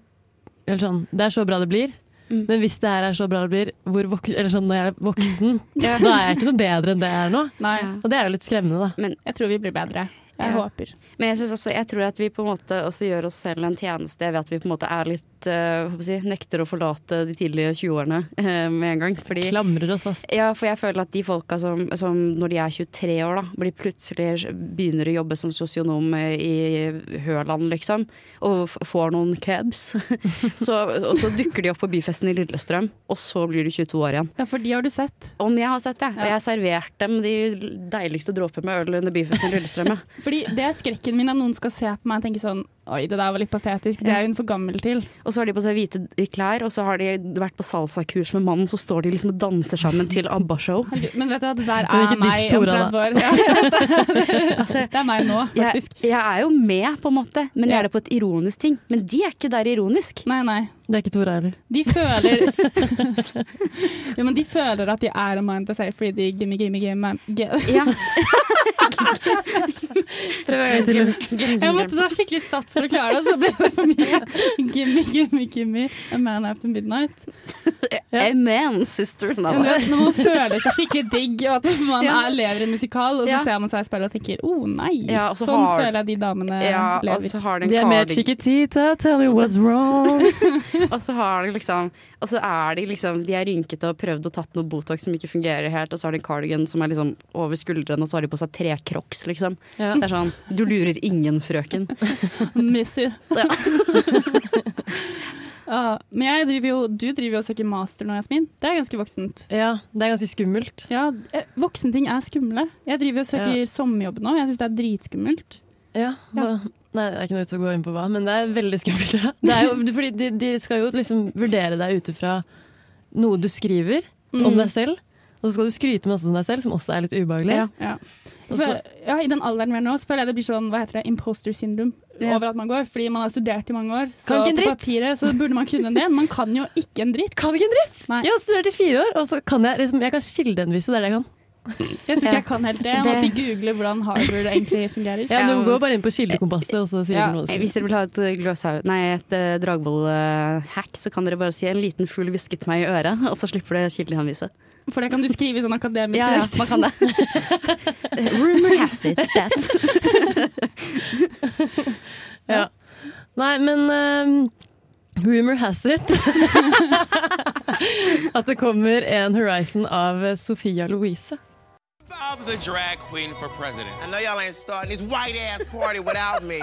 Speaker 1: eller sånn, Det er så bra det blir, men hvis det her er så bra det blir, hvor vok eller sånn, når jeg er voksen,
Speaker 2: Ja.
Speaker 1: da er jeg ikke noe bedre enn det jeg er nå.
Speaker 3: Nei.
Speaker 1: Og det er jo litt skremmende, da.
Speaker 3: Jeg tror vi blir bedre. Jeg
Speaker 2: Ja.
Speaker 3: håper.
Speaker 2: Men jeg, synes også, jeg tror at vi på en måte også gjør oss selv en tjeneste ved at vi på en måte er litt eh, hva skal jeg si, Nekter å forlate de tidlige 20-årene eh, med en gang. Fordi,
Speaker 1: Klamrer oss fast.
Speaker 2: ja, for jeg føler at de folka som, som når de er 23 år, da, blir plutselig begynner å jobbe som sosionom eh, i Høland, liksom, og f- får noen cabs, <laughs> så, og så dukker de opp på byfesten i Lillestrøm, og så blir de 22 år igjen.
Speaker 3: Ja, for de har du sett.
Speaker 2: Om jeg har sett det. Og jeg har servert dem de deiligste dråper med øl under byfesten i Lillestrøm. ja.
Speaker 3: Fordi det er skrekken min at noen skal se på meg og tenke sånn Oi, det der var litt patetisk. Det er hun for gammel til.
Speaker 2: Og så har de på seg hvite klær, og så har de vært på salsakurs med mannen, så står de liksom og danser sammen til ABBA-show.
Speaker 3: Men vet du hva, det
Speaker 1: er
Speaker 3: der er
Speaker 1: ikke diss
Speaker 3: meg om
Speaker 1: Tora, da.
Speaker 3: 30 år. Ja, jeg vet det. det er meg nå,
Speaker 2: Jeg,
Speaker 3: faktisk.
Speaker 2: jeg er jo med, på en måte, men jeg
Speaker 3: Ja.
Speaker 2: er det på et ironisk ting. Men de er ikke der ironisk.
Speaker 3: <laughs> Nei, nei.
Speaker 1: Det er ikke Tora heller.
Speaker 3: De føler Jo, men de føler at de er en mind to say fordi de gimme, gimme, gimme gi-
Speaker 2: Ja.
Speaker 1: Prøv en gang til.
Speaker 3: Jeg måtte ta skikkelig sats for å klare det, og så ble det for mye. Gimme, gimme, gimme. A man after midnight.
Speaker 2: Amen, sister. Nei,
Speaker 3: Men du
Speaker 2: da.
Speaker 3: vet, når man føler seg skikkelig digg, og at man
Speaker 2: <laughs> Ja.
Speaker 3: er, lever i en musikal, og så
Speaker 2: Ja.
Speaker 3: ser man seg i speilet og tenker å oh, nei.
Speaker 2: Ja, og så
Speaker 3: sånn
Speaker 2: har-
Speaker 3: føler jeg de damene
Speaker 2: Ja, og
Speaker 3: <laughs> lever.
Speaker 2: så har de
Speaker 1: De er
Speaker 2: en
Speaker 1: mer
Speaker 2: kardig
Speaker 1: chiquitita, tell me what's wrong.
Speaker 2: og så har de liksom Og så er de liksom De er rynkete og har prøvd og tatt noe Botox som ikke fungerer helt, og så har de en cardigan som er liksom over skuldrene, og så har de på seg tre crocs, liksom.
Speaker 1: Ja.
Speaker 2: Det er sånn Du lurer ingen,
Speaker 1: <laughs>
Speaker 2: frøken.
Speaker 3: Missy.
Speaker 2: Ja.
Speaker 3: <laughs> Ja, men jeg driver jo, du driver jo og søker master nå, Jasmin. Det er ganske voksent.
Speaker 1: Ja, det er ganske skummelt.
Speaker 3: Ja, eh, voksenting er skumle. Jeg driver og søker sommerjobb nå. Jeg syns det er dritskummelt.
Speaker 1: Ja, hva- Nei, det er ikke noe vits å gå inn på hva, men det er veldig skummelt. Ja. Det er jo, fordi de, de skal jo liksom vurdere deg ut ifra noe du skriver om deg selv, og så skal du skryte med også om deg selv, som også er litt ubehagelig.
Speaker 2: Ja.
Speaker 3: Ja.
Speaker 1: Og så-
Speaker 3: For, ja, I den alderen vi er nå, så føler jeg det blir sånn hva heter det, imposter syndrome
Speaker 2: Ja.
Speaker 3: over at man går. Fordi man har studert i mange år,
Speaker 1: Kan
Speaker 3: så
Speaker 1: ikke en
Speaker 3: på
Speaker 1: dritt.
Speaker 3: papiret så burde man kunne en del. Man kan jo ikke en dritt.
Speaker 1: Kan ikke en dritt!
Speaker 3: Nei.
Speaker 1: Jeg har studert i fire år, og så kan jeg, liksom, jeg kan kildehenvise. Det er det jeg kan.
Speaker 3: Jeg tror ikke
Speaker 2: Ja.
Speaker 3: jeg kan helt det. Jeg måtte google hvordan Harvard egentlig fungerer.
Speaker 1: Ja, du går bare inn på kildekompasset, og så sier
Speaker 3: Ja.
Speaker 1: den hva det
Speaker 2: Eh,
Speaker 1: sier.
Speaker 2: Hvis dere vil ha et eh, gløshau... Nei, et eh, dragvoll-hack, så kan dere bare si en liten fugl hvisket meg i øret, og så slipper det kildehenvise.
Speaker 3: For det kan du skrive i sånn akademisk
Speaker 2: Ja, ja,
Speaker 3: dialekt.
Speaker 2: man kan det. <laughs> Rumor has it that.
Speaker 1: Ja. Nei, men ehm, rumor has it <laughs> at det kommer en Horizon av eh, Sophia Louise.
Speaker 9: I'm the drag queen for president. I know y'all ain't starting this white ass party without <laughs> me.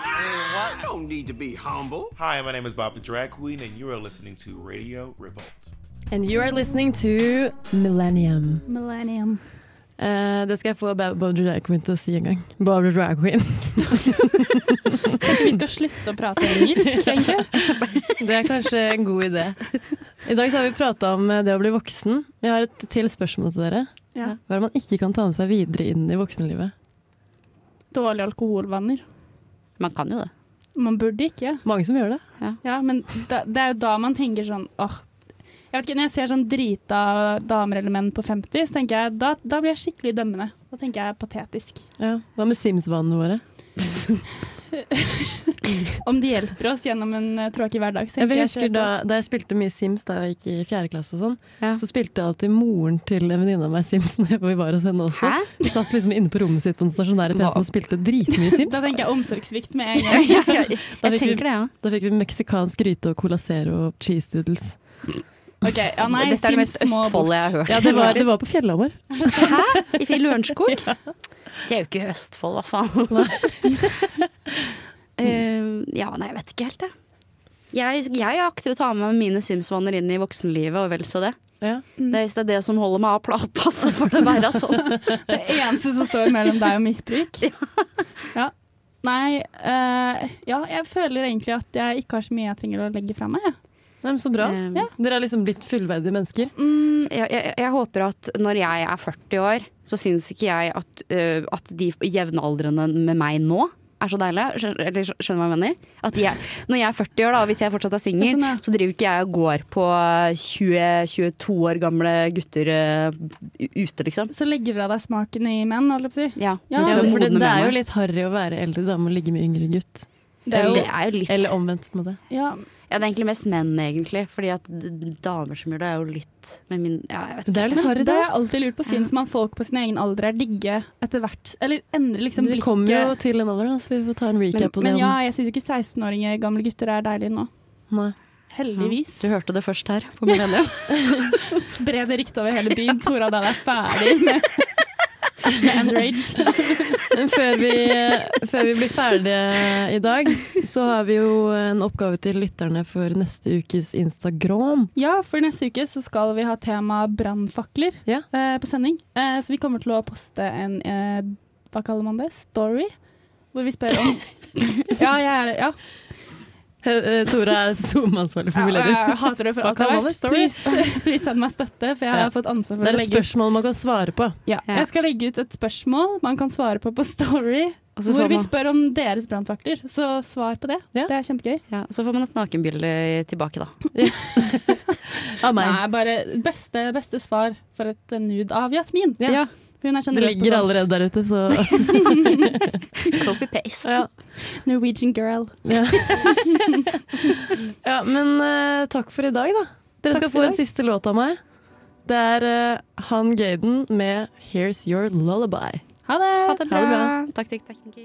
Speaker 9: I don't need to be humble. Hi, my name is Bob the Drag Queen, and you are listening to Radio Revolt.
Speaker 1: And you are listening to Millennium.
Speaker 3: Millennium.
Speaker 1: Eh, det skal jeg få Ba- Barbara Drag Queen til å si en gang. Barbara Drag <laughs> Queen.
Speaker 3: Kanskje vi skal slutte å
Speaker 1: <laughs>
Speaker 3: prate engelsk, egentlig?
Speaker 1: Det er kanskje en god idé. I dag så har vi prata om eh, det å bli voksen. Jeg har et til spørsmål til dere.
Speaker 3: Ja.
Speaker 1: Hva er det man ikke kan ta med seg videre inn i voksenlivet?
Speaker 3: Dårlige alkoholvaner.
Speaker 2: Man kan jo det.
Speaker 3: Man burde ikke.
Speaker 1: Mange som gjør det.
Speaker 3: Ja, men da, det er jo da man tenker sånn åh, jeg vet ikke, Når jeg ser sånn drita damer eller menn på 50, så tenker jeg, da, da blir jeg skikkelig dømmende. Da tenker jeg patetisk.
Speaker 1: Ja. Hva med Sims-vanene våre?
Speaker 3: Om de hjelper oss gjennom en eh, tråkig hverdag. så
Speaker 1: Jeg
Speaker 3: tenker
Speaker 1: husker
Speaker 3: ikke-
Speaker 1: da, da jeg spilte mye Sims da jeg gikk i fjerde klasse og sånn,
Speaker 2: Ja.
Speaker 1: så spilte jeg alltid moren til en venninne av meg Sims <laughs> når vi var hos henne også.
Speaker 2: Hæ? <laughs>
Speaker 1: Hun satt liksom inne på rommet sitt på den stasjonære
Speaker 2: Hva?
Speaker 1: PC-en og spilte dritmye <laughs> Sims.
Speaker 3: Da tenker jeg omsorgssvikt med en gang.
Speaker 2: Ja, ja, ja. Jeg,
Speaker 1: Da fikk vi-
Speaker 2: tenker det, ja.
Speaker 1: Da fikk vi meksikansk gryte og colacero og cheese doodles.
Speaker 3: Ok, ja, nei,
Speaker 2: Dette er det mest
Speaker 3: Sims må bort.
Speaker 2: Østfold jeg har hørt.
Speaker 1: Ja, det
Speaker 2: <laughs>
Speaker 1: var, <laughs> det var på Fjellhamar.
Speaker 2: Hæ? <laughs> I Lørenskog? Det er jo ikke Østfold, hva faen. <laughs> Eh, ja, nei, jeg vet ikke helt, jeg. Jeg, jeg akter å ta med meg mine Sims-vaner inn i voksenlivet, og vel så det.
Speaker 1: Ja.
Speaker 2: det. er- Hvis det er det som holder meg av plata, så får det være sånn.
Speaker 3: Det eneste som står mellom deg
Speaker 2: <laughs>
Speaker 3: og misbruk. Ja. Nei, eh, ja, jeg føler egentlig at jeg ikke har så mye jeg trenger å legge fra meg. jeg.
Speaker 1: Nei, men så bra.
Speaker 2: Eh,
Speaker 1: Dere er liksom blitt fullverdige mennesker.
Speaker 2: jeg, jeg, jeg håper at når jeg er 40 år, så syns ikke jeg at, eh, at de jevnaldrende med meg nå er så deilig. Skjønner, eller skjø- skjønner du hva jeg mener? At jeg, når jeg er 40 år, da, og hvis jeg fortsatt er
Speaker 3: Ja,
Speaker 2: singel,
Speaker 3: sånn, ja.
Speaker 2: så driver ikke jeg og går på 20-22 år gamle gutter eh, u- ute, liksom.
Speaker 3: Så legge fra deg smaken i menn, holdt jeg på å si.
Speaker 2: Ja,
Speaker 3: Ja,
Speaker 2: jeg
Speaker 1: Ja, for
Speaker 2: skal
Speaker 1: det,
Speaker 2: modne
Speaker 1: det
Speaker 2: med
Speaker 1: er jo
Speaker 2: meg.
Speaker 1: litt harry å være eldre dame og ligge med yngre gutt.
Speaker 3: Det er jo,
Speaker 2: det er jo litt
Speaker 1: Eller omvendt, på en måte.
Speaker 3: ja,
Speaker 2: Ja, det er egentlig mest menn, egentlig. Fordi at d- damer som gjør det, er jo litt med min Ja, jeg vet
Speaker 1: Det er jo
Speaker 2: ikke.
Speaker 1: litt harry,
Speaker 3: det har
Speaker 1: da.
Speaker 3: jeg alltid lurt på. Syns man folk på sin egen alder er digge etter hvert? Eller endrer liksom
Speaker 1: Vi kommer jo
Speaker 3: blikket?
Speaker 1: til en alder, da, så vi får ta en recap på det.
Speaker 3: Men
Speaker 1: om-
Speaker 3: ja, jeg syns jo ikke 16-åringer, gamle gutter, er deilige nå.
Speaker 1: Nei.
Speaker 3: Heldigvis.
Speaker 2: Du hørte det først her på Millennium.
Speaker 3: Spre det ryktet over hele byen. Tora Dahl er ferdig
Speaker 1: <laughs>
Speaker 3: med, med underage.
Speaker 1: Men før vi, eh, før vi blir ferdige i dag, så har vi jo en oppgave til lytterne for neste ukes Instagram.
Speaker 3: Ja, for neste uke så skal vi ha tema brannfakler
Speaker 1: Ja.
Speaker 3: eh, på sending. Eh, så vi kommer til å poste en eh, Hva kaller man det? Story? Hvor vi spør
Speaker 1: <laughs>
Speaker 3: om Ja, jeg er ja.
Speaker 1: Eh, eh, Tora er <laughs> SoMe-ansvarlig for
Speaker 3: ja
Speaker 1: Millennium.
Speaker 3: jeg hater det for
Speaker 1: Hva
Speaker 3: alt det
Speaker 1: kaller
Speaker 3: er
Speaker 1: man det?
Speaker 3: verdt.
Speaker 1: Story?
Speaker 3: Please, <laughs> please send meg støtte, for jeg
Speaker 1: Ja.
Speaker 3: har fått ansvar
Speaker 1: Det
Speaker 3: for
Speaker 1: er
Speaker 3: å
Speaker 1: et
Speaker 3: legge ut
Speaker 1: spørsmål man kan svare på.
Speaker 3: ja.
Speaker 2: <laughs> Ja.
Speaker 3: Jeg skal legge ut et spørsmål man kan svare på på Story,
Speaker 2: Og så
Speaker 3: hvor
Speaker 2: får
Speaker 3: vi
Speaker 2: man-
Speaker 3: spør om deres brannfakler. Så svar på det.
Speaker 1: Ja.
Speaker 3: Det er kjempegøy.
Speaker 2: Ja, så får man et nakenbilde tilbake, da.
Speaker 1: Av meg.
Speaker 3: Nei, bare beste, beste svar for et eh, nude av Jasmin.
Speaker 1: Ja.
Speaker 3: For Hun er
Speaker 1: Det
Speaker 3: generøs på
Speaker 1: ligger
Speaker 3: sånt.
Speaker 1: allerede der ute, så
Speaker 2: Copy-paste.
Speaker 1: <laughs> ja.
Speaker 3: Norwegian girl.
Speaker 1: Ja. <laughs> ja, men eh, takk for i dag, da. Dere
Speaker 3: Takk
Speaker 1: skal
Speaker 3: for
Speaker 1: få
Speaker 3: i
Speaker 1: en
Speaker 3: dag.
Speaker 1: siste låt av meg. Det er eh, Han Gaden med 'Here's Your Lullaby'.
Speaker 3: Ha det!
Speaker 2: Ha det bra. Takk, takk, takk.